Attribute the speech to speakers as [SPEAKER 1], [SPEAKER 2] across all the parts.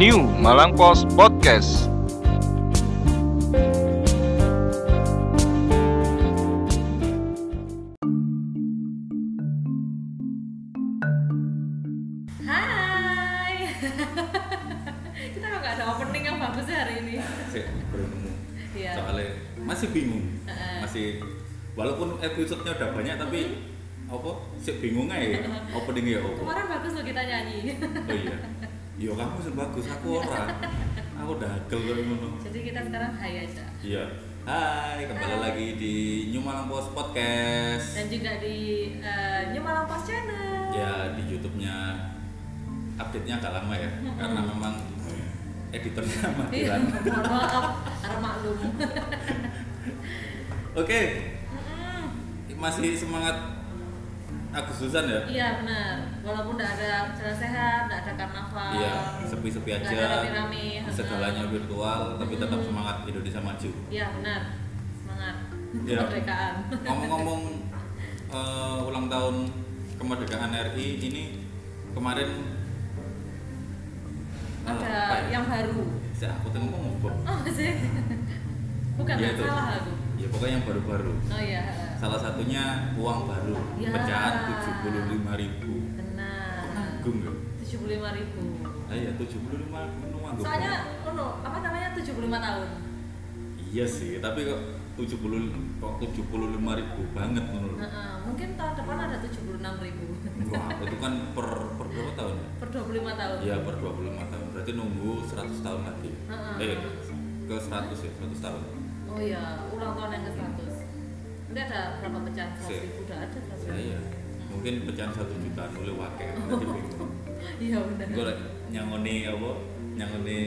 [SPEAKER 1] New Malang Post Podcast.
[SPEAKER 2] Hai. Kita kok nggak ada opening yang bagus ya hari ini.
[SPEAKER 3] Saya belum nemu.
[SPEAKER 2] Iya.
[SPEAKER 3] Soalnya masih bingung.
[SPEAKER 2] Heeh.
[SPEAKER 3] Masih walaupun episode-nya udah banyak tapi apa sih bingung aja openingnya ya apa
[SPEAKER 2] Kemarin bagus loh kita nyanyi.
[SPEAKER 3] oh iya yo kamu sih bagus aku ora aku dagel kok ngono
[SPEAKER 2] Jadi kita sekarang hai aja.
[SPEAKER 3] iya hai kembali
[SPEAKER 2] Hai.
[SPEAKER 3] lagi di New Malang Post Podcast
[SPEAKER 2] Dan juga di eh, New Malang Post Channel.
[SPEAKER 3] ya di YouTube-nya update-nya agak lama ya karena memang editornya
[SPEAKER 2] Iya,
[SPEAKER 3] matiran
[SPEAKER 2] mohon maaf, karena maklum.
[SPEAKER 3] oke
[SPEAKER 2] Mm-mm.
[SPEAKER 3] masih semangat Agustusan ya
[SPEAKER 2] Iya benar. Walaupun nggak ada acara sehat, nggak ada karnaval.
[SPEAKER 3] Iya, sepi-sepi
[SPEAKER 2] nggak
[SPEAKER 3] aja.
[SPEAKER 2] ada rame-rame.
[SPEAKER 3] Segalanya virtual, tapi tetap
[SPEAKER 2] Mm.
[SPEAKER 3] semangat Indonesia maju.
[SPEAKER 2] Iya benar. Semangat.
[SPEAKER 3] Iya.
[SPEAKER 2] Kemerdekaan.
[SPEAKER 3] Ngomong-ngomong eh, ulang tahun kemerdekaan RI ini kemarin eh,
[SPEAKER 2] ada
[SPEAKER 3] apa ya?
[SPEAKER 2] yang baru.
[SPEAKER 3] Saya aku tuh ngomong apa?
[SPEAKER 2] Oh sih. Bukan
[SPEAKER 3] Iya,
[SPEAKER 2] nggak
[SPEAKER 3] itu.
[SPEAKER 2] salah aku.
[SPEAKER 3] Ya pokoknya yang baru-baru.
[SPEAKER 2] Oh iya.
[SPEAKER 3] Salah satunya uang baru,
[SPEAKER 2] Ya.
[SPEAKER 3] pecahan 75.000 ribu.
[SPEAKER 2] Benar.
[SPEAKER 3] Agung loh.
[SPEAKER 2] tujuh puluh lima ribu
[SPEAKER 3] Ah iya 75 ribu
[SPEAKER 2] soalnya ono apa namanya 75 tahun
[SPEAKER 3] Iya sih, tapi kok 70 kok 75 ribu banget menurut.
[SPEAKER 2] Nah, eh, mungkin tahun depan ada 76 ribu
[SPEAKER 3] Wah, itu kan per per berapa tahun ya?
[SPEAKER 2] per 25 tahun
[SPEAKER 3] Iya, per 25 tahun. Berarti nunggu 100 tahun lagi.
[SPEAKER 2] Heeh.
[SPEAKER 3] Eh, ke 100 ya, 100 tahun.
[SPEAKER 2] oh iya ulang tahun yang ke 100 nanti ada berapa pecahan 100
[SPEAKER 3] Sip.
[SPEAKER 2] ribu udah ada 100
[SPEAKER 3] Ya iya. Mungkin pecahan 1 jutaan oleh wakil.
[SPEAKER 2] Oh.
[SPEAKER 3] Nanti bingung.
[SPEAKER 2] iya benar
[SPEAKER 3] Gue lagi nyangoni apa? Nyangoni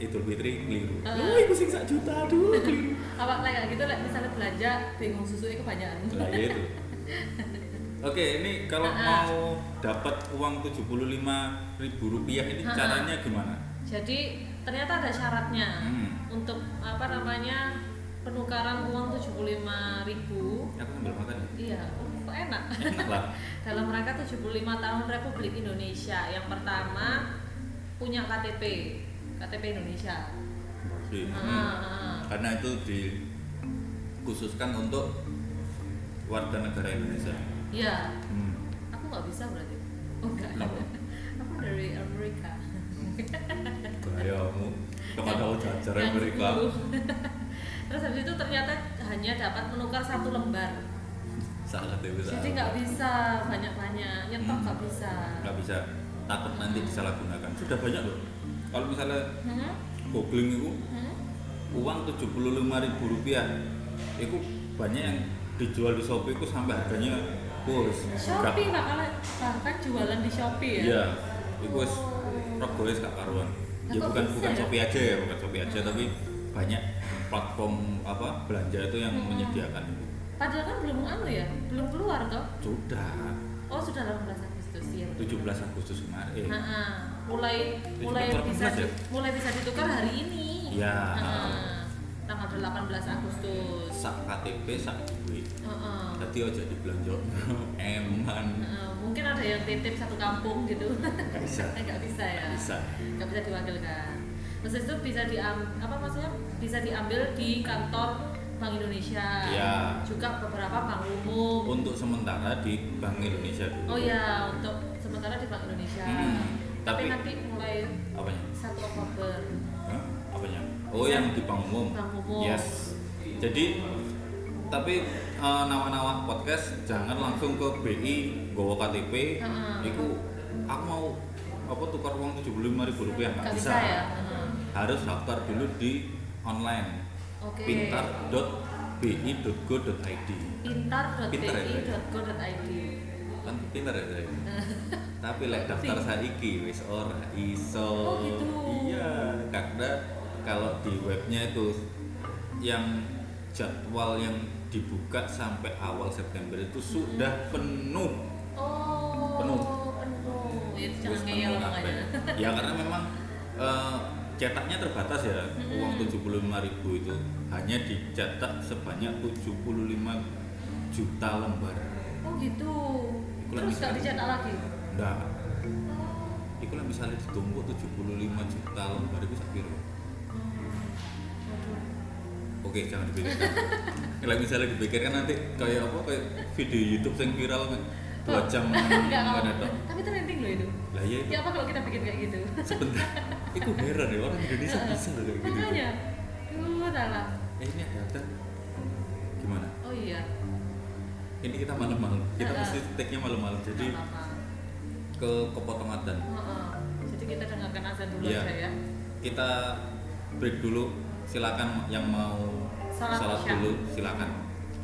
[SPEAKER 3] Idul Fitri keliru.
[SPEAKER 2] Heeh.
[SPEAKER 3] Wah, iku sing sak juta aduh keliru.
[SPEAKER 2] apa lah kayak gitu lah misalnya belanja bingung susunya kebanyakan
[SPEAKER 3] Lah iya itu. Oke, ini kalau
[SPEAKER 2] Heeh.
[SPEAKER 3] mau dapat uang 75.000 rupiah ini
[SPEAKER 2] Heeh.
[SPEAKER 3] caranya gimana?
[SPEAKER 2] jadi ternyata ada syaratnya
[SPEAKER 3] Hmm.
[SPEAKER 2] untuk apa namanya penukaran uang 75 ribu
[SPEAKER 3] Aku sambil makan ya.
[SPEAKER 2] iya oh, kok enak
[SPEAKER 3] Enak lah.
[SPEAKER 2] dalam rangka 75 tahun Republik Indonesia. Yang pertama punya KTP, KTP Indonesia.
[SPEAKER 3] Sih.
[SPEAKER 2] Ah, ah.
[SPEAKER 3] karena itu dikhususkan untuk warga negara Indonesia.
[SPEAKER 2] Iya, aku nggak bisa berarti. Oh enggak.
[SPEAKER 3] Kenapa?
[SPEAKER 2] aku dari Amerika.
[SPEAKER 3] Gayamu, kamu tahu jajar
[SPEAKER 2] Yang
[SPEAKER 3] Amerika.
[SPEAKER 2] sepuluh. Terus habis itu ternyata hanya dapat menukar satu lembar.
[SPEAKER 3] Salah Dewi salah.
[SPEAKER 2] Jadi nggak bisa banyak-banyak, nyetok
[SPEAKER 3] Hmm.
[SPEAKER 2] nggak bisa.
[SPEAKER 3] Nggak bisa. Takut nanti disalahgunakan. Sudah banyak loh. Kalau misalnya
[SPEAKER 2] Hmm?
[SPEAKER 3] googling itu
[SPEAKER 2] Hmm?
[SPEAKER 3] uang 75.000 rupiah, itu banyak yang dijual di Shopee itu sampai harganya kurs.
[SPEAKER 2] Shopee bakalan bahkan jualan di Shopee ya.
[SPEAKER 3] Iya, itu wis rego wis gak karuan. Ya
[SPEAKER 2] Lah, kok
[SPEAKER 3] bukan
[SPEAKER 2] bisa
[SPEAKER 3] bukan
[SPEAKER 2] ya?
[SPEAKER 3] Shopee aja ya, bukan Shopee aja tapi banyak platform apa belanja itu yang
[SPEAKER 2] Hmm.
[SPEAKER 3] menyediakan itu.
[SPEAKER 2] Padahal kan belum anu ya, belum keluar toh.
[SPEAKER 3] Sudah
[SPEAKER 2] Oh sudah 18 Agustus ya.
[SPEAKER 3] 17 Agustus kemarin.
[SPEAKER 2] Nah, ah, mulai mulai
[SPEAKER 3] 17
[SPEAKER 2] bisa di-
[SPEAKER 3] ya?
[SPEAKER 2] mulai bisa ditukar hari ini.
[SPEAKER 3] Ya.
[SPEAKER 2] Nah, tanggal 18 Agustus.
[SPEAKER 3] Sak KTP sak duit.
[SPEAKER 2] Nah, ah.
[SPEAKER 3] Tadi aja dibelanja. Eman
[SPEAKER 2] Nah, mungkin ada yang titip satu kampung gitu.
[SPEAKER 3] Nggak bisa.
[SPEAKER 2] Eh, Nggak bisa ya.
[SPEAKER 3] bisa.
[SPEAKER 2] Nggak bisa diwakilkan. Terus itu bisa diam apa maksudnya bisa diambil di kantor Bank Indonesia.
[SPEAKER 3] Ya.
[SPEAKER 2] Juga beberapa bank umum.
[SPEAKER 3] Untuk sementara di Bank Indonesia
[SPEAKER 2] Oh
[SPEAKER 3] dulu.
[SPEAKER 2] ya, untuk sementara di Bank Indonesia.
[SPEAKER 3] Hmm,
[SPEAKER 2] tapi,
[SPEAKER 3] tapi-
[SPEAKER 2] nanti mulai
[SPEAKER 3] Apanya?
[SPEAKER 2] 1 Oktober
[SPEAKER 3] Hah? Apanya? Oh yang di Bank Umum.
[SPEAKER 2] Bank Umum.
[SPEAKER 3] Yes. Jadi tapi eh, nama-nama podcast jangan langsung ke BI gowo KTP.
[SPEAKER 2] Heeh.
[SPEAKER 3] Iku aku mau apa tukar uang tujuh puluh lima ribu rupiah
[SPEAKER 2] Nggak
[SPEAKER 3] nggak
[SPEAKER 2] bisa
[SPEAKER 3] bisa.
[SPEAKER 2] ya? Heeh.
[SPEAKER 3] Harus daftar dulu di online
[SPEAKER 2] Oke.
[SPEAKER 3] pintar.bi.go.id. Pintar ya, Mbak?
[SPEAKER 2] pintar.bi.go.id.
[SPEAKER 3] Kan pintar ya saya. Tapi lek daftar saiki wis ora iso.
[SPEAKER 2] Oh, gitu.
[SPEAKER 3] Iya, karena kalau di webnya itu yang jadwal yang dibuka sampai awal September itu
[SPEAKER 2] Hmm.
[SPEAKER 3] sudah penuh.
[SPEAKER 2] Oh,
[SPEAKER 3] Penuh.
[SPEAKER 2] penuh. Ya itu
[SPEAKER 3] Wis
[SPEAKER 2] jangan ngeyel
[SPEAKER 3] penuh
[SPEAKER 2] makanya.
[SPEAKER 3] kabeh. Ya karena memang eh, cetaknya terbatas ya.
[SPEAKER 2] Mm-mm.
[SPEAKER 3] Uang 75.000 itu hanya dicetak sebanyak 75 juta lembar.
[SPEAKER 2] Oh gitu.
[SPEAKER 3] Aku
[SPEAKER 2] Terus
[SPEAKER 3] lagi
[SPEAKER 2] nggak
[SPEAKER 3] sekarang.
[SPEAKER 2] dicetak lagi.
[SPEAKER 3] Nah, Iku lah misalnya ditumpuk 75 juta lembar itu sak piro? Oke, jangan dipikirkan. Kalau misalnya dipikirkan nanti kayak apa kayak video YouTube yang viral kan dua jam
[SPEAKER 2] Oh. Enggak
[SPEAKER 3] nggak ada tok.
[SPEAKER 2] Tapi trending loh itu.
[SPEAKER 3] Lah iya itu
[SPEAKER 2] Ya apa kalau kita bikin kayak gitu?
[SPEAKER 3] sebentar. Iku heran ya orang Indonesia bisa loh kayak gitu.
[SPEAKER 2] Makanya. Duh, salah.
[SPEAKER 3] Eh ini ada ada. Gimana?
[SPEAKER 2] Oh iya.
[SPEAKER 3] Ini kita malam-malam. Kita
[SPEAKER 2] Heeh.
[SPEAKER 3] mesti take-nya malam-malam. Jadi
[SPEAKER 2] Nggak apa-apa.
[SPEAKER 3] ke kepotong adzan.
[SPEAKER 2] Heeh. Jadi kita dengarkan azan dulu
[SPEAKER 3] Iya.
[SPEAKER 2] aja ya.
[SPEAKER 3] Kita break dulu. Silakan yang mau
[SPEAKER 2] Salat
[SPEAKER 3] salat
[SPEAKER 2] Isya.
[SPEAKER 3] dulu silakan.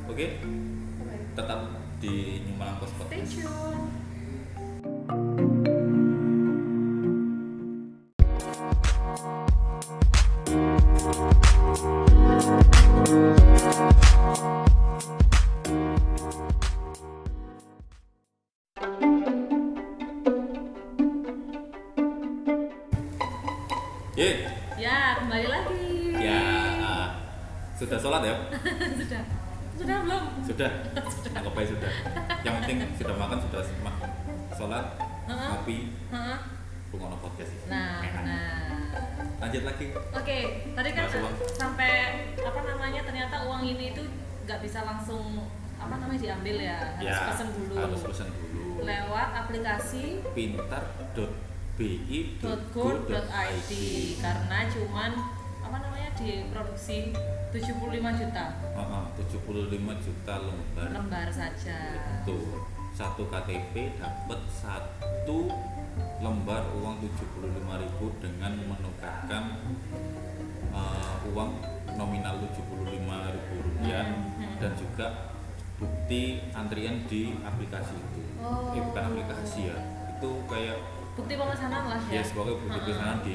[SPEAKER 3] Oke, tetap di Nyumalang Kos
[SPEAKER 2] Stay
[SPEAKER 3] Podcast.
[SPEAKER 2] tune.
[SPEAKER 3] Ye.
[SPEAKER 2] Ya, kembali lagi.
[SPEAKER 3] Ya, ah, sudah sholat ya?
[SPEAKER 2] sudah. Sudah belum?
[SPEAKER 3] Sudah. Anggap baik sudah. Yang penting sudah makan, sudah ma- sholat,
[SPEAKER 2] Heeh.
[SPEAKER 3] ngopi,
[SPEAKER 2] Heeh.
[SPEAKER 3] pengono podcast.
[SPEAKER 2] Nah,
[SPEAKER 3] Enak.
[SPEAKER 2] nah.
[SPEAKER 3] Lanjut lagi.
[SPEAKER 2] Oke, tadi kan
[SPEAKER 3] Bahas uang.
[SPEAKER 2] sampai apa namanya ternyata uang ini itu nggak bisa langsung apa namanya diambil ya, harus
[SPEAKER 3] ya,
[SPEAKER 2] pesen dulu.
[SPEAKER 3] harus pesan dulu.
[SPEAKER 2] Lewat aplikasi
[SPEAKER 3] pintar.bi.go.id
[SPEAKER 2] .go.id karena cuman apa namanya diproduksi 75 juta
[SPEAKER 3] Heeh, 75 juta lembar.
[SPEAKER 2] lembar saja.
[SPEAKER 3] Itu satu KTP dapat satu lembar uang 75.000 dengan menukarkan eh, uang nominal 75.000 rupiah
[SPEAKER 2] Hmm.
[SPEAKER 3] dan juga bukti antrian di aplikasi itu. Eh, bukan
[SPEAKER 2] Oh.
[SPEAKER 3] aplikasi ya. Itu kayak
[SPEAKER 2] Bukti pemesanan lah ya.
[SPEAKER 3] ya sebagai bukti
[SPEAKER 2] Heeh.
[SPEAKER 3] pesanan di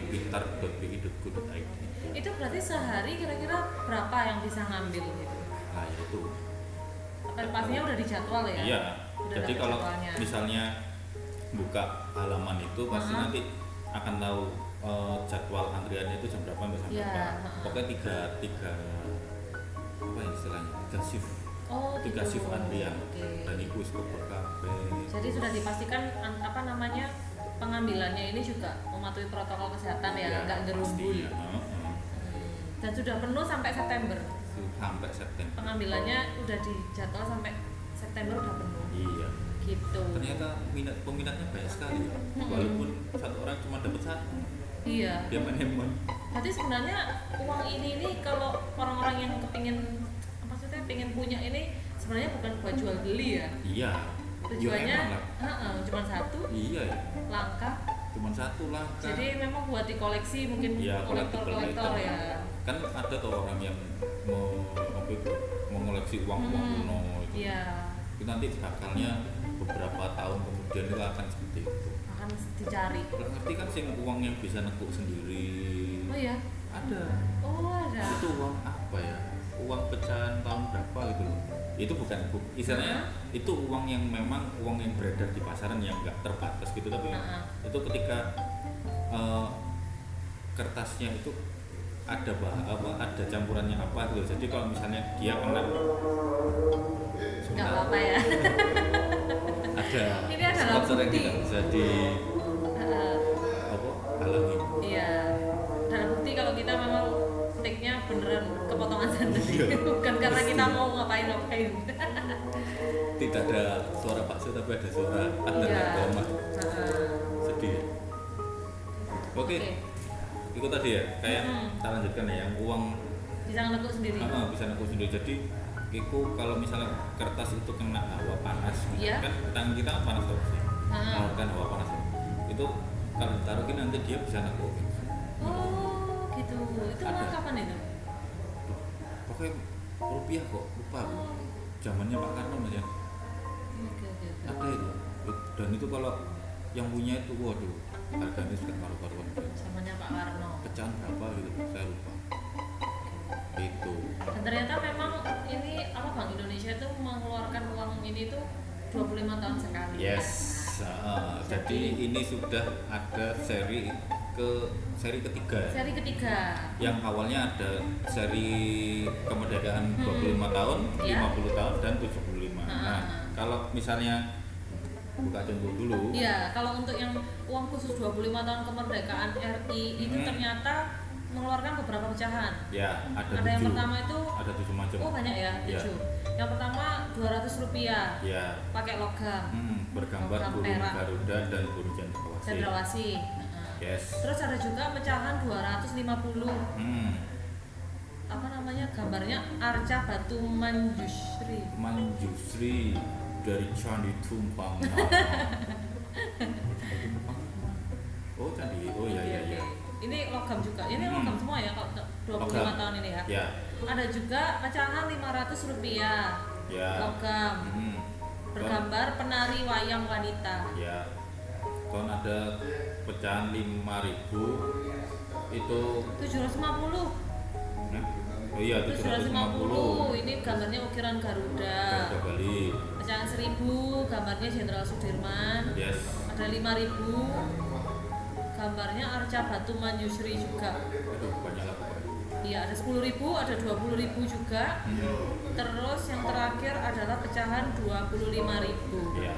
[SPEAKER 3] pintar.bi.go.id.
[SPEAKER 2] Itu berarti sehari kira-kira berapa yang bisa ngambil gitu?
[SPEAKER 3] Nah, itu.
[SPEAKER 2] Apa pastinya udah dijadwal ya?
[SPEAKER 3] Iya.
[SPEAKER 2] Udah
[SPEAKER 3] Jadi
[SPEAKER 2] dapet
[SPEAKER 3] kalau
[SPEAKER 2] jadwalnya.
[SPEAKER 3] misalnya buka halaman itu pasti
[SPEAKER 2] Aha.
[SPEAKER 3] nanti akan tahu eh, jadwal antriannya itu jam berapa sampai jam
[SPEAKER 2] Iya,
[SPEAKER 3] berapa.
[SPEAKER 2] ha.
[SPEAKER 3] Pokoknya tiga tiga apa ya istilahnya tiga shift
[SPEAKER 2] Oh,
[SPEAKER 3] tiga
[SPEAKER 2] gitu.
[SPEAKER 3] shift iya. antrian
[SPEAKER 2] Oke.
[SPEAKER 3] dan itu wis kebor kabeh.
[SPEAKER 2] Jadi ya sudah dipastikan an- apa namanya pengambilannya ini juga mematuhi protokol kesehatan ya, nggak
[SPEAKER 3] pasti,
[SPEAKER 2] gerumbul.
[SPEAKER 3] ya, heeh.
[SPEAKER 2] Dan sudah penuh sampai September.
[SPEAKER 3] sampai September.
[SPEAKER 2] Pengambilannya udah dijadwal sampai September udah penuh.
[SPEAKER 3] Iya.
[SPEAKER 2] Gitu.
[SPEAKER 3] Ternyata minat peminatnya banyak sekali. ya.
[SPEAKER 2] Mm-mm.
[SPEAKER 3] Walaupun satu orang cuma dapat satu,
[SPEAKER 2] Iya.
[SPEAKER 3] dia main-main.
[SPEAKER 2] Berarti sebenarnya uang ini ini kalau orang-orang yang kepingin maksudnya pengen punya ini sebenarnya bukan buat jual beli ya.
[SPEAKER 3] Iya. Ya,
[SPEAKER 2] Tujuannya
[SPEAKER 3] emang lah.
[SPEAKER 2] heeh, cuma satu
[SPEAKER 3] Iya ya.
[SPEAKER 2] langkah.
[SPEAKER 3] Cuman satu langkah.
[SPEAKER 2] Jadi memang buat dikoleksi mungkin
[SPEAKER 3] Iya, kolektor
[SPEAKER 2] kolektor-kolektor ya.
[SPEAKER 3] Kan ada tuh orang yang mau apa itu, mengoleksi uang-uang
[SPEAKER 2] Hmm,
[SPEAKER 3] kuno itu.
[SPEAKER 2] Iya.
[SPEAKER 3] Itu nanti bakalnya beberapa tahun kemudian itu akan seperti itu.
[SPEAKER 2] akan dicari
[SPEAKER 3] Kalau ngerti kan sing uang yang bisa nekuk sendiri.
[SPEAKER 2] oh ya
[SPEAKER 3] Ada.
[SPEAKER 2] oh ada
[SPEAKER 3] Itu uang apa ya? Uang pecahan tahun berapa gitu loh. Itu bukan bu- istilahnya itu uang yang memang uang yang beredar di pasaran yang enggak terbatas gitu tapi
[SPEAKER 2] Heeh.
[SPEAKER 3] itu ketika eh, kertasnya itu ada bah apa ada campurannya apa gitu jadi kalau misalnya dia kena
[SPEAKER 2] nggak
[SPEAKER 3] sebentar,
[SPEAKER 2] apa-apa ya
[SPEAKER 3] ada
[SPEAKER 2] Ini adalah
[SPEAKER 3] sponsor yang
[SPEAKER 2] bukti.
[SPEAKER 3] tidak bisa di
[SPEAKER 2] Eh,
[SPEAKER 3] apa halangi
[SPEAKER 2] iya dan bukti kalau kita memang take-nya beneran kepotongan sendiri
[SPEAKER 3] Iya.
[SPEAKER 2] bukan karena kita mau ngapain ngapain
[SPEAKER 3] tidak ada suara bakso tapi ada suara ada
[SPEAKER 2] iya
[SPEAKER 3] koma
[SPEAKER 2] Heeh.
[SPEAKER 3] sedih ya? oke itu tadi ya kayak
[SPEAKER 2] Mm.
[SPEAKER 3] kita lanjutkan ya yang uang
[SPEAKER 2] bisa ngelekuk sendiri
[SPEAKER 3] Ah, bisa aku sendiri. Jadi iku kalau misalnya kertas itu kena hawa panas, gitu
[SPEAKER 2] Iya.
[SPEAKER 3] kan tangan kita kan panas terus ya.
[SPEAKER 2] Heeh.
[SPEAKER 3] Mengeluarkan hawa panas ya. itu kalau ditaruhin nanti dia bisa naku.
[SPEAKER 2] oh gitu itu
[SPEAKER 3] Ada.
[SPEAKER 2] uang kapan itu
[SPEAKER 3] Pokoknya rupiah kok lupa aku.
[SPEAKER 2] oh
[SPEAKER 3] Zamannya Pak Karno Mas, ya.
[SPEAKER 2] oke oke oke
[SPEAKER 3] Ada itu. Dan itu kalau yang punya itu waduh harganya sudah karu-karuan.
[SPEAKER 2] zamannya Pak Warno
[SPEAKER 3] Pecahan berapa gitu saya lupa. Itu.
[SPEAKER 2] dan ternyata memang ini apa Bank Indonesia itu mengeluarkan uang ini tuh 25 tahun sekali
[SPEAKER 3] Yes. Ah, jadi
[SPEAKER 2] Jadi-
[SPEAKER 3] ini sudah ada seri ke seri ketiga. ya?
[SPEAKER 2] seri ketiga
[SPEAKER 3] Yang awalnya ada seri kemerdekaan
[SPEAKER 2] Hmm.
[SPEAKER 3] 25 tahun,
[SPEAKER 2] Iya.
[SPEAKER 3] 50 tahun dan 75. Nah,
[SPEAKER 2] Ah.
[SPEAKER 3] kalau misalnya buka jongkok dulu
[SPEAKER 2] Iya, kalau untuk yang uang khusus 25 tahun kemerdekaan RI itu
[SPEAKER 3] Hmm.
[SPEAKER 2] ternyata mengeluarkan beberapa pecahan.
[SPEAKER 3] ya ada,
[SPEAKER 2] Ada yang
[SPEAKER 3] tujuh
[SPEAKER 2] pertama itu
[SPEAKER 3] ada tujuh macam
[SPEAKER 2] oh banyak ya,
[SPEAKER 3] Iya.
[SPEAKER 2] tujuh. Yang pertama 200 rupiah
[SPEAKER 3] ya
[SPEAKER 2] pakai logam
[SPEAKER 3] hmm, bergambar
[SPEAKER 2] Logam
[SPEAKER 3] burung
[SPEAKER 2] perak.
[SPEAKER 3] garuda dan burung cendrawasih
[SPEAKER 2] cendrawasih. Heeh.
[SPEAKER 3] yes
[SPEAKER 2] Nah, Terus ada juga pecahan 250
[SPEAKER 3] hmm,
[SPEAKER 2] apa namanya gambarnya Arca Batu Manjusri.
[SPEAKER 3] Manjusri dari Candi Tumpang oh Candi oh ya ya ya
[SPEAKER 2] Ini logam juga. Ini
[SPEAKER 3] Hmm.
[SPEAKER 2] logam semua ya kalau 25
[SPEAKER 3] Logam.
[SPEAKER 2] tahun ini ya.
[SPEAKER 3] ya
[SPEAKER 2] Ada juga pecahan 500 rupiah
[SPEAKER 3] ya
[SPEAKER 2] logam.
[SPEAKER 3] hmm. Ton-
[SPEAKER 2] bergambar penari wayang wanita
[SPEAKER 3] ya ton ada pecahan 5000 itu
[SPEAKER 2] 750
[SPEAKER 3] eh, oh iya 750
[SPEAKER 2] 750 ini gambarnya ukiran Garuda
[SPEAKER 3] Garuda Bali
[SPEAKER 2] pecahan 1000 gambarnya Jenderal Sudirman
[SPEAKER 3] yes
[SPEAKER 2] ada 5000 gambarnya Arca Batu Manjusri juga
[SPEAKER 3] aduh banyak lah pokoknya
[SPEAKER 2] iya ada 10.000 ada 20.000 juga
[SPEAKER 3] Hmm.
[SPEAKER 2] terus yang terakhir adalah pecahan 25.000
[SPEAKER 3] Ya.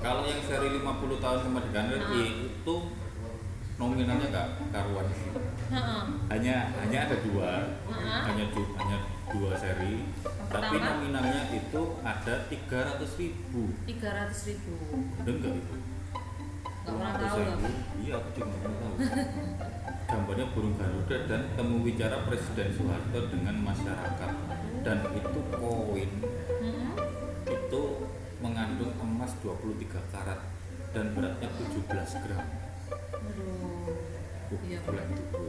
[SPEAKER 3] Kalau yang seri 50 tahun kemerdekaan RI itu nominalnya nggak karuan sih.
[SPEAKER 2] Heeh.
[SPEAKER 3] Hanya hanya ada dua,
[SPEAKER 2] Heeh.
[SPEAKER 3] hanya du- hanya dua seri. Tapi
[SPEAKER 2] pertama?
[SPEAKER 3] nominalnya itu ada 300 ribu.
[SPEAKER 2] 300.000
[SPEAKER 3] Bener nggak itu?
[SPEAKER 2] nggak pernah tahu loh
[SPEAKER 3] 300.000. Iya, aku juga nggak pernah tahu. Gambarnya burung garuda dan temu bicara Presiden Soeharto dengan masyarakat dan itu koin
[SPEAKER 2] Heeh.
[SPEAKER 3] itu mengandung emas 23 karat dan beratnya 17 gram.
[SPEAKER 2] Aduh.
[SPEAKER 3] Uh,
[SPEAKER 2] Iya.
[SPEAKER 3] gula itu gue.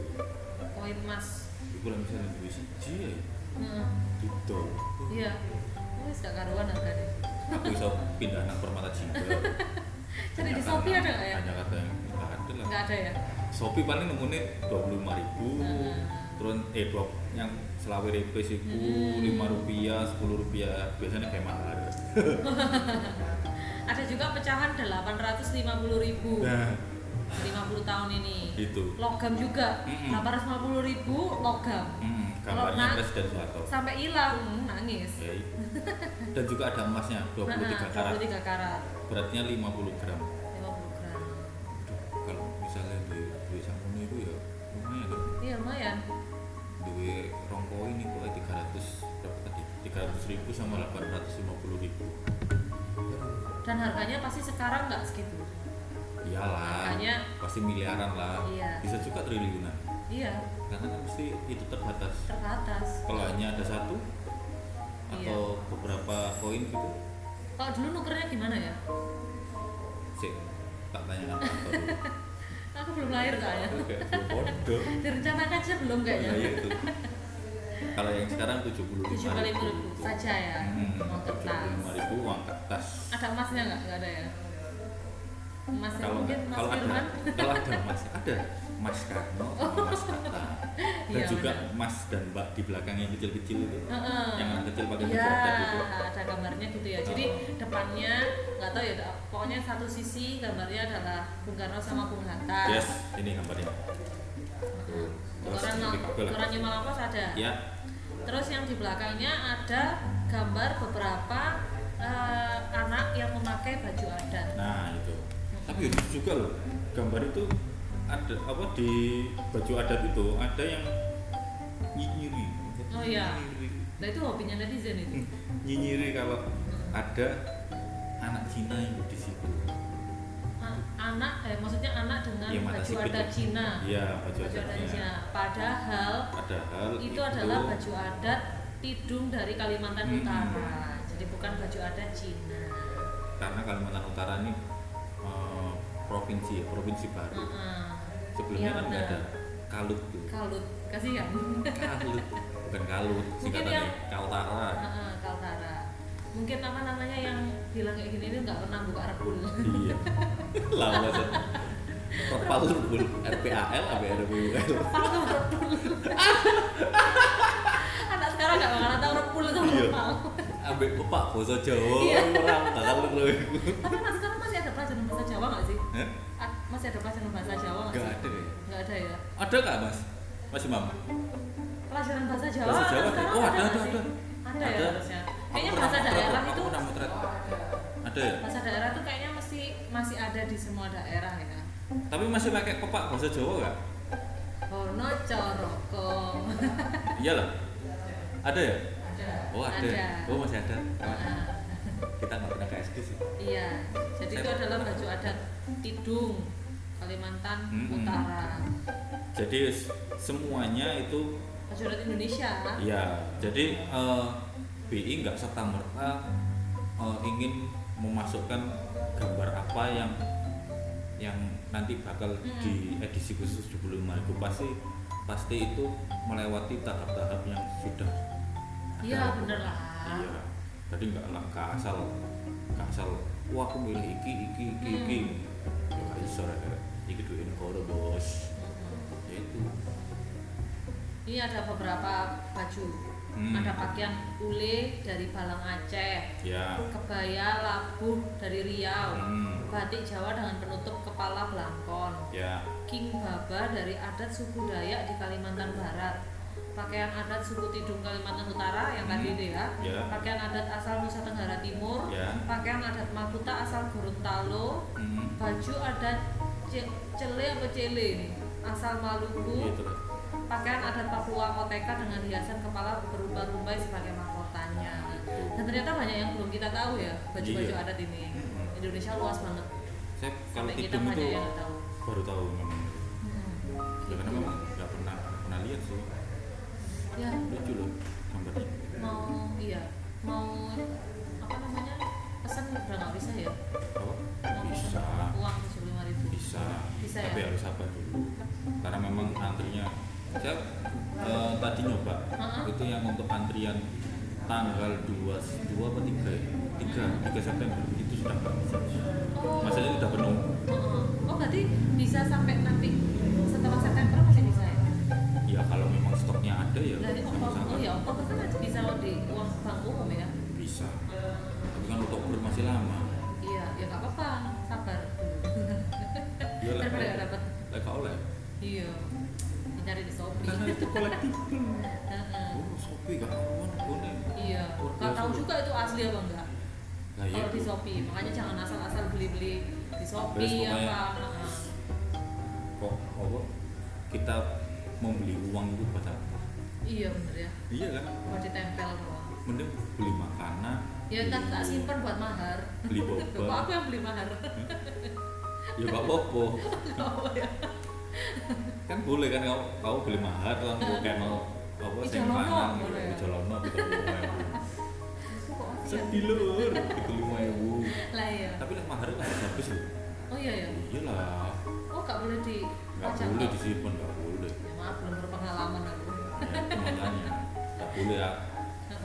[SPEAKER 2] koin emas
[SPEAKER 3] Iku lah misalnya duit siji ya,
[SPEAKER 2] Heeh.
[SPEAKER 3] didol.
[SPEAKER 2] Iya. Wis gak karuan harganya.
[SPEAKER 3] Aku bisa pindah anak permata jimbel.
[SPEAKER 2] Cari di
[SPEAKER 3] Ternyata
[SPEAKER 2] Shopee
[SPEAKER 3] anak-
[SPEAKER 2] ada nggak ya?
[SPEAKER 3] Banyak kata yang nggak ada lah.
[SPEAKER 2] Enggak ada ya?
[SPEAKER 3] Shopee paling nemunya 25 ribu.
[SPEAKER 2] Heeh.
[SPEAKER 3] Terus eh dua yang selawe repes itu
[SPEAKER 2] Hmm.
[SPEAKER 3] 5 rupiah, 10 rupiah. Biasanya kayak mahal.
[SPEAKER 2] Ada juga pecahan 850.000 ribu
[SPEAKER 3] Nah,
[SPEAKER 2] 50 tahun ini
[SPEAKER 3] Itu.
[SPEAKER 2] Logam juga
[SPEAKER 3] Iya. Mm-mm.
[SPEAKER 2] 850.000 ribu logam
[SPEAKER 3] hmm, gambarnya
[SPEAKER 2] Kalau-
[SPEAKER 3] Presiden Soeharto.
[SPEAKER 2] Sampai hilang, Hmm, nangis
[SPEAKER 3] Ya, itu. Dan juga ada emasnya 23 karat.
[SPEAKER 2] 23 karat
[SPEAKER 3] beratnya 50 gram
[SPEAKER 2] 50 gram
[SPEAKER 3] Aduh, kalau misalnya di duit sampun itu ya lumayan loh
[SPEAKER 2] Iya lumayan
[SPEAKER 3] duit rongko ini kok 300 berapa tadi 300 ribu sama 850 ribu
[SPEAKER 2] Dan harganya pasti sekarang nggak segitu
[SPEAKER 3] iyalah
[SPEAKER 2] Makanya-
[SPEAKER 3] pasti miliaran lah
[SPEAKER 2] Iya.
[SPEAKER 3] bisa juga triliunan
[SPEAKER 2] Iya,
[SPEAKER 3] karena kan pasti itu terbatas
[SPEAKER 2] terbatas
[SPEAKER 3] kalau hanya ada satu atau
[SPEAKER 2] Iya.
[SPEAKER 3] beberapa koin gitu
[SPEAKER 2] Kalau dulu nukernya gimana ya?
[SPEAKER 3] sih tak tanya apa
[SPEAKER 2] Aku belum lahir kayaknya
[SPEAKER 3] dulu kayak bodoh
[SPEAKER 2] Direncanakan sih belum
[SPEAKER 3] ya
[SPEAKER 2] kayaknya
[SPEAKER 3] itu kalau yang sekarang 75
[SPEAKER 2] 75.000 saja ya uang
[SPEAKER 3] Hmm, lima
[SPEAKER 2] kertas
[SPEAKER 3] ribu uang kertas
[SPEAKER 2] ada emasnya nggak nggak ada ya emasnya
[SPEAKER 3] kalau
[SPEAKER 2] mungkin
[SPEAKER 3] nggak-
[SPEAKER 2] mas
[SPEAKER 3] kalau ada
[SPEAKER 2] Firman
[SPEAKER 3] kalau ada mas ada mas Karno sama mas Hatta dan
[SPEAKER 2] Iya,
[SPEAKER 3] juga
[SPEAKER 2] benar.
[SPEAKER 3] mas dan mbak di belakang yang kecil-kecil itu
[SPEAKER 2] Heeh.
[SPEAKER 3] yang anak kecil pakai
[SPEAKER 2] ya
[SPEAKER 3] baju gitu
[SPEAKER 2] ada gambarnya gitu ya jadi depannya nggak tahu ya da- pokoknya satu sisi gambarnya adalah Bung Karno sama Bung Hatta
[SPEAKER 3] yes ini gambarnya Tuh. terus
[SPEAKER 2] Koran
[SPEAKER 3] ini kabel.
[SPEAKER 2] koran New Malapas ada
[SPEAKER 3] ya
[SPEAKER 2] terus yang di belakangnya ada gambar beberapa eh, anak yang memakai baju adat
[SPEAKER 3] nah itu tapi
[SPEAKER 2] Hmm.
[SPEAKER 3] lucu juga loh gambar itu ada apa di baju adat itu ada yang nyinyiri
[SPEAKER 2] Oh, iya.
[SPEAKER 3] Nyinyiri. Hmm,
[SPEAKER 2] nah itu hobinya netizen itu
[SPEAKER 3] nyinyiri kalau ada anak Cina yang di situ.
[SPEAKER 2] A- anak eh maksudnya anak dengan
[SPEAKER 3] Hmm. Iya, mata
[SPEAKER 2] baju
[SPEAKER 3] sipit.
[SPEAKER 2] adat Cina
[SPEAKER 3] Iya, baju
[SPEAKER 2] Ah, baju adat Cina
[SPEAKER 3] adatnya.
[SPEAKER 2] padahal
[SPEAKER 3] Padahal
[SPEAKER 2] itu, adalah baju adat Tidung dari Kalimantan
[SPEAKER 3] Hmm.
[SPEAKER 2] Utara jadi bukan baju adat Cina
[SPEAKER 3] karena Kalimantan Utara ini eh, provinsi ya, provinsi baru.
[SPEAKER 2] Heeh. Hmm. Iya,
[SPEAKER 3] Sebelumnya kan nggak ada
[SPEAKER 2] benar.
[SPEAKER 3] kalut tuh.
[SPEAKER 2] kalut ya? kasihan
[SPEAKER 3] Hmm. Kalut, bukan kalut, singkatannya
[SPEAKER 2] yang-
[SPEAKER 3] Kaltara.
[SPEAKER 2] Heeh, Kaltara mungkin apa namanya yang bilang kayak gini itu nggak pernah buka rebul
[SPEAKER 3] Iya. Lama banget. Kepal bul RPAL apa RPUL?
[SPEAKER 2] Paham rebul anak sekarang nggak bakal tahu rebul sama
[SPEAKER 3] Iya.
[SPEAKER 2] repal
[SPEAKER 3] Ambek pepak bahasa Jawa
[SPEAKER 2] Iya.
[SPEAKER 3] orang bakal lu.
[SPEAKER 2] tapi anak sekarang masih ada pelajaran bahasa Jawa nggak sih
[SPEAKER 3] Hah?
[SPEAKER 2] Ah, masih ada pelajaran bahasa Jawa nggak
[SPEAKER 3] Enggak
[SPEAKER 2] sih?
[SPEAKER 3] ada ya.
[SPEAKER 2] Nggak ada ya.
[SPEAKER 3] Ada nggak mas? Masih mama?
[SPEAKER 2] Pelajaran bahasa Jawa.
[SPEAKER 3] Bahasa
[SPEAKER 2] kan
[SPEAKER 3] Jawa ada.
[SPEAKER 2] sekarang
[SPEAKER 3] Oh, ada,
[SPEAKER 2] nggak
[SPEAKER 3] ada,
[SPEAKER 2] sih?
[SPEAKER 3] ada.
[SPEAKER 2] Ada ya
[SPEAKER 3] Ada.
[SPEAKER 2] harusnya. Kayaknya bahasa daerah itu
[SPEAKER 3] Aku pernah motret. Ada ya?
[SPEAKER 2] bahasa daerah tuh kayaknya masih ada di semua daerah ya.
[SPEAKER 3] Tapi masih pakai kepak bahasa Jawa nggak?
[SPEAKER 2] Hono Coroko.
[SPEAKER 3] Iya lah. Ada ya?
[SPEAKER 2] Ada.
[SPEAKER 3] Oh ada.
[SPEAKER 2] Ada.
[SPEAKER 3] Oh masih ada.
[SPEAKER 2] Nah,
[SPEAKER 3] Kita nggak pernah ke SD sih.
[SPEAKER 2] iya. Jadi itu
[SPEAKER 3] Saya-
[SPEAKER 2] adalah baju adat Tidung, Kalimantan
[SPEAKER 3] Mm-mm.
[SPEAKER 2] Utara.
[SPEAKER 3] hmm. Jadi s- semuanya itu
[SPEAKER 2] Baju adat Indonesia. Iya,
[SPEAKER 3] ya. Jadi eh, BI nggak serta merta eh, ingin memasukkan gambar apa yang yang nanti bakal
[SPEAKER 2] Mm-mm.
[SPEAKER 3] di edisi khusus 75 itu pasti pasti itu melewati tahap-tahap yang sudah ada.
[SPEAKER 2] Iya bener lah.
[SPEAKER 3] iya tadi nggak langkah asal nggak asal wah aku milih iki iki iki iki ya nggak iso rek iki duit negara bos
[SPEAKER 2] Mm-mm.
[SPEAKER 3] ya itu
[SPEAKER 2] Ini ada beberapa baju.
[SPEAKER 3] Hmm.
[SPEAKER 2] Ada pakaian ule dari Balang Aceh,
[SPEAKER 3] ya
[SPEAKER 2] kebaya labuh dari Riau,
[SPEAKER 3] Hmm.
[SPEAKER 2] batik Jawa dengan penutup kepala belangkon,
[SPEAKER 3] ya
[SPEAKER 2] king baba dari adat suku Dayak di Kalimantan Barat, pakaian adat suku Tidung Kalimantan Utara yang tadi
[SPEAKER 3] Hmm.
[SPEAKER 2] itu ya,
[SPEAKER 3] Ya.
[SPEAKER 2] pakaian adat asal Nusa Tenggara Timur,
[SPEAKER 3] Ya.
[SPEAKER 2] pakaian adat Makuta asal Gorontalo,
[SPEAKER 3] hmm.
[SPEAKER 2] baju adat Ce- Cele apa Cele ini asal Maluku,
[SPEAKER 3] ya itu lah
[SPEAKER 2] pakaian adat Papua Koteka dengan hiasan kepala berubah-ubah sebagai mahkotanya dan ternyata banyak yang belum kita tahu ya baju-baju
[SPEAKER 3] Iya.
[SPEAKER 2] adat ini Indonesia luas banget
[SPEAKER 3] saya kalau
[SPEAKER 2] sampai kita
[SPEAKER 3] tidung itu ya.
[SPEAKER 2] banyak yang nggak ya. tahu
[SPEAKER 3] baru tahu memang ya karena
[SPEAKER 2] Gitu.
[SPEAKER 3] memang nggak pernah nggak pernah lihat sih
[SPEAKER 2] ya
[SPEAKER 3] lucu loh gambarnya
[SPEAKER 2] mau iya mau apa namanya pesan udah nggak bisa ya
[SPEAKER 3] oh
[SPEAKER 2] mau
[SPEAKER 3] bisa
[SPEAKER 2] pesan uang tujuh ribu
[SPEAKER 3] Ah. bisa,
[SPEAKER 2] Bisa
[SPEAKER 3] tapi
[SPEAKER 2] ya?
[SPEAKER 3] harus sabar dulu karena memang antrinya saya eh, tadi nyoba
[SPEAKER 2] Heeh.
[SPEAKER 3] itu yang untuk antrian tanggal 2 2 apa 3 ya? 3 3 September itu sudah nggak bisa
[SPEAKER 2] oh
[SPEAKER 3] maksudnya sudah penuh
[SPEAKER 2] oh, oh berarti bisa sampai nanti setelah September masih bisa ya
[SPEAKER 3] ya kalau memang stoknya ada ya
[SPEAKER 2] dari
[SPEAKER 3] bisa
[SPEAKER 2] Oktober
[SPEAKER 3] sangat
[SPEAKER 2] oh ya Oktober kan masih bisa loh di uang bank umum ya
[SPEAKER 3] bisa tapi kan Oktober masih lama
[SPEAKER 2] Iya, ya nggak apa-apa, sabar.
[SPEAKER 3] Iya lah.
[SPEAKER 2] Daripada nggak dapat.
[SPEAKER 3] lah kau oleh
[SPEAKER 2] Iya, nyari di Shopee.
[SPEAKER 3] karena itu kolektifal
[SPEAKER 2] Heeh.
[SPEAKER 3] oh Shopee gak karuan gue
[SPEAKER 2] Iya,
[SPEAKER 3] Oh,
[SPEAKER 2] nggak
[SPEAKER 3] iya,
[SPEAKER 2] tahu
[SPEAKER 3] Shopee.
[SPEAKER 2] juga itu asli apa enggak.
[SPEAKER 3] nah iya
[SPEAKER 2] Kalau di Shopee, makanya jangan asal-asal beli-beli di
[SPEAKER 3] Terus
[SPEAKER 2] Shopee
[SPEAKER 3] pokoknya
[SPEAKER 2] apa. Heeh.
[SPEAKER 3] kok apa kita membeli uang itu buat apa
[SPEAKER 2] Iya bener ya,
[SPEAKER 3] iya kan
[SPEAKER 2] mau ditempel doang.
[SPEAKER 3] mending beli makanan
[SPEAKER 2] Ya
[SPEAKER 3] beli-
[SPEAKER 2] ntar tak simpen buat mahar.
[SPEAKER 3] Beli boba.
[SPEAKER 2] Loh, Kok aku yang beli mahar?
[SPEAKER 3] ya gak apa-apa
[SPEAKER 2] Tahu ya.
[SPEAKER 3] kan boleh kan kau kau beli mahar kan kau kayak mau apa
[SPEAKER 2] Di
[SPEAKER 3] sing
[SPEAKER 2] Jalono,
[SPEAKER 3] pangan
[SPEAKER 2] boleh.
[SPEAKER 3] di jalono gitu
[SPEAKER 2] Aku kok aku yang-
[SPEAKER 3] sedih lur gitu lima ibu
[SPEAKER 2] Lah iya.
[SPEAKER 3] tapi lah mahar itu harus habis loh
[SPEAKER 2] Oh iya ya.
[SPEAKER 3] iyalah
[SPEAKER 2] Oh nggak boleh di
[SPEAKER 3] nggak
[SPEAKER 2] pajak,
[SPEAKER 3] boleh
[SPEAKER 2] Kak.
[SPEAKER 3] disimpan nggak boleh
[SPEAKER 2] Ya, maaf belum berpengalaman aku.
[SPEAKER 3] ya, itu makanya nggak boleh ya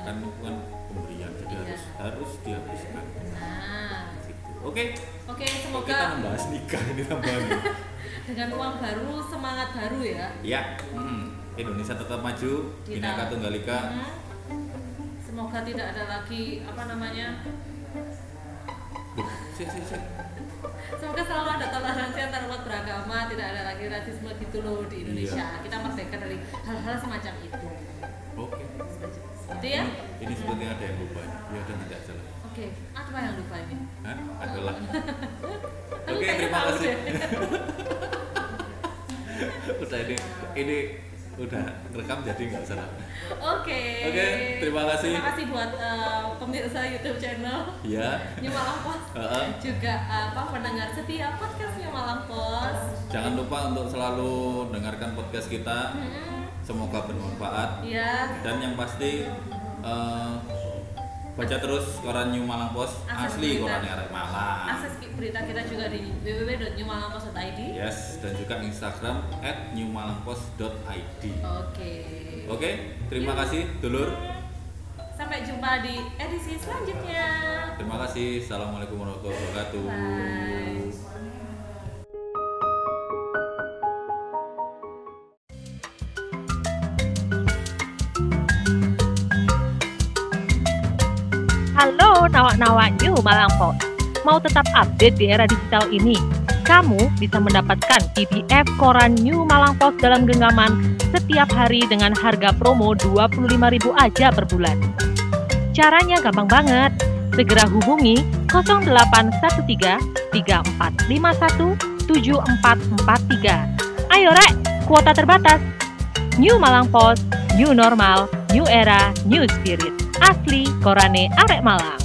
[SPEAKER 3] kan itu kan pemberian jadi
[SPEAKER 2] Iya.
[SPEAKER 3] harus harus dihabiskan
[SPEAKER 2] Nah,
[SPEAKER 3] gitu
[SPEAKER 2] Oke,
[SPEAKER 3] oke kok kita
[SPEAKER 2] semoga
[SPEAKER 3] membahas nikah ini tambahan
[SPEAKER 2] dengan uang baru semangat baru ya.
[SPEAKER 3] ya hmm, Indonesia tetap maju Bhinneka Tunggal Ika
[SPEAKER 2] Hmm. Semoga tidak ada lagi apa namanya.
[SPEAKER 3] Duh, sih, sih, sih.
[SPEAKER 2] Semoga selalu ada toleransi antar umat beragama, tidak ada lagi rasisme gitu loh di Indonesia.
[SPEAKER 3] Iya.
[SPEAKER 2] Kita merdeka dari hal-hal semacam itu.
[SPEAKER 3] Oke.
[SPEAKER 2] Itu ya.
[SPEAKER 3] Ini, ini sepertinya ada yang lupa. Ya udah tidak salah.
[SPEAKER 2] Oke, apa yang lupa ini?
[SPEAKER 3] Hah? Adalah.
[SPEAKER 2] Aku
[SPEAKER 3] Oke,
[SPEAKER 2] kayaknya
[SPEAKER 3] terima
[SPEAKER 2] tahu
[SPEAKER 3] kasih.
[SPEAKER 2] deh.
[SPEAKER 3] Udah ini ini udah rekam jadi nggak salah.
[SPEAKER 2] Oke.
[SPEAKER 3] Oke, terima kasih.
[SPEAKER 2] Terima kasih buat eh, pemirsa YouTube channel
[SPEAKER 3] Ya.
[SPEAKER 2] Nyemalang Pos.
[SPEAKER 3] Heeh.
[SPEAKER 2] Juga apa pendengar setia podcast Nyemalang Pos.
[SPEAKER 3] Jangan lupa untuk selalu dengarkan podcast kita.
[SPEAKER 2] Hmm.
[SPEAKER 3] Semoga bermanfaat
[SPEAKER 2] Iya,
[SPEAKER 3] dan yang pasti eh, baca terus koran New Malang Post
[SPEAKER 2] Akses
[SPEAKER 3] asli
[SPEAKER 2] berita.
[SPEAKER 3] korannya Arek Malang.
[SPEAKER 2] akses berita kita juga di www.newmalangpost.id.
[SPEAKER 3] Yes, dan juga Instagram at newmalangpost.id
[SPEAKER 2] Oke.
[SPEAKER 3] Oke, terima kasih dulur.
[SPEAKER 2] Sampai jumpa di edisi selanjutnya.
[SPEAKER 3] Terima kasih. Assalamualaikum warahmatullahi wabarakatuh.
[SPEAKER 2] Bye.
[SPEAKER 4] Halo nawak-nawak New Malang Pos. Mau tetap update di era digital ini? Kamu bisa mendapatkan PDF koran New Malang Pos dalam genggaman setiap hari dengan harga promo 25.000 aja per bulan. Caranya gampang banget. Segera hubungi 0813 3451 7443. Ayo rek, kuota terbatas. New Malang Post, New Normal, New Era, New Spirit. Asli Korane Arek Malang.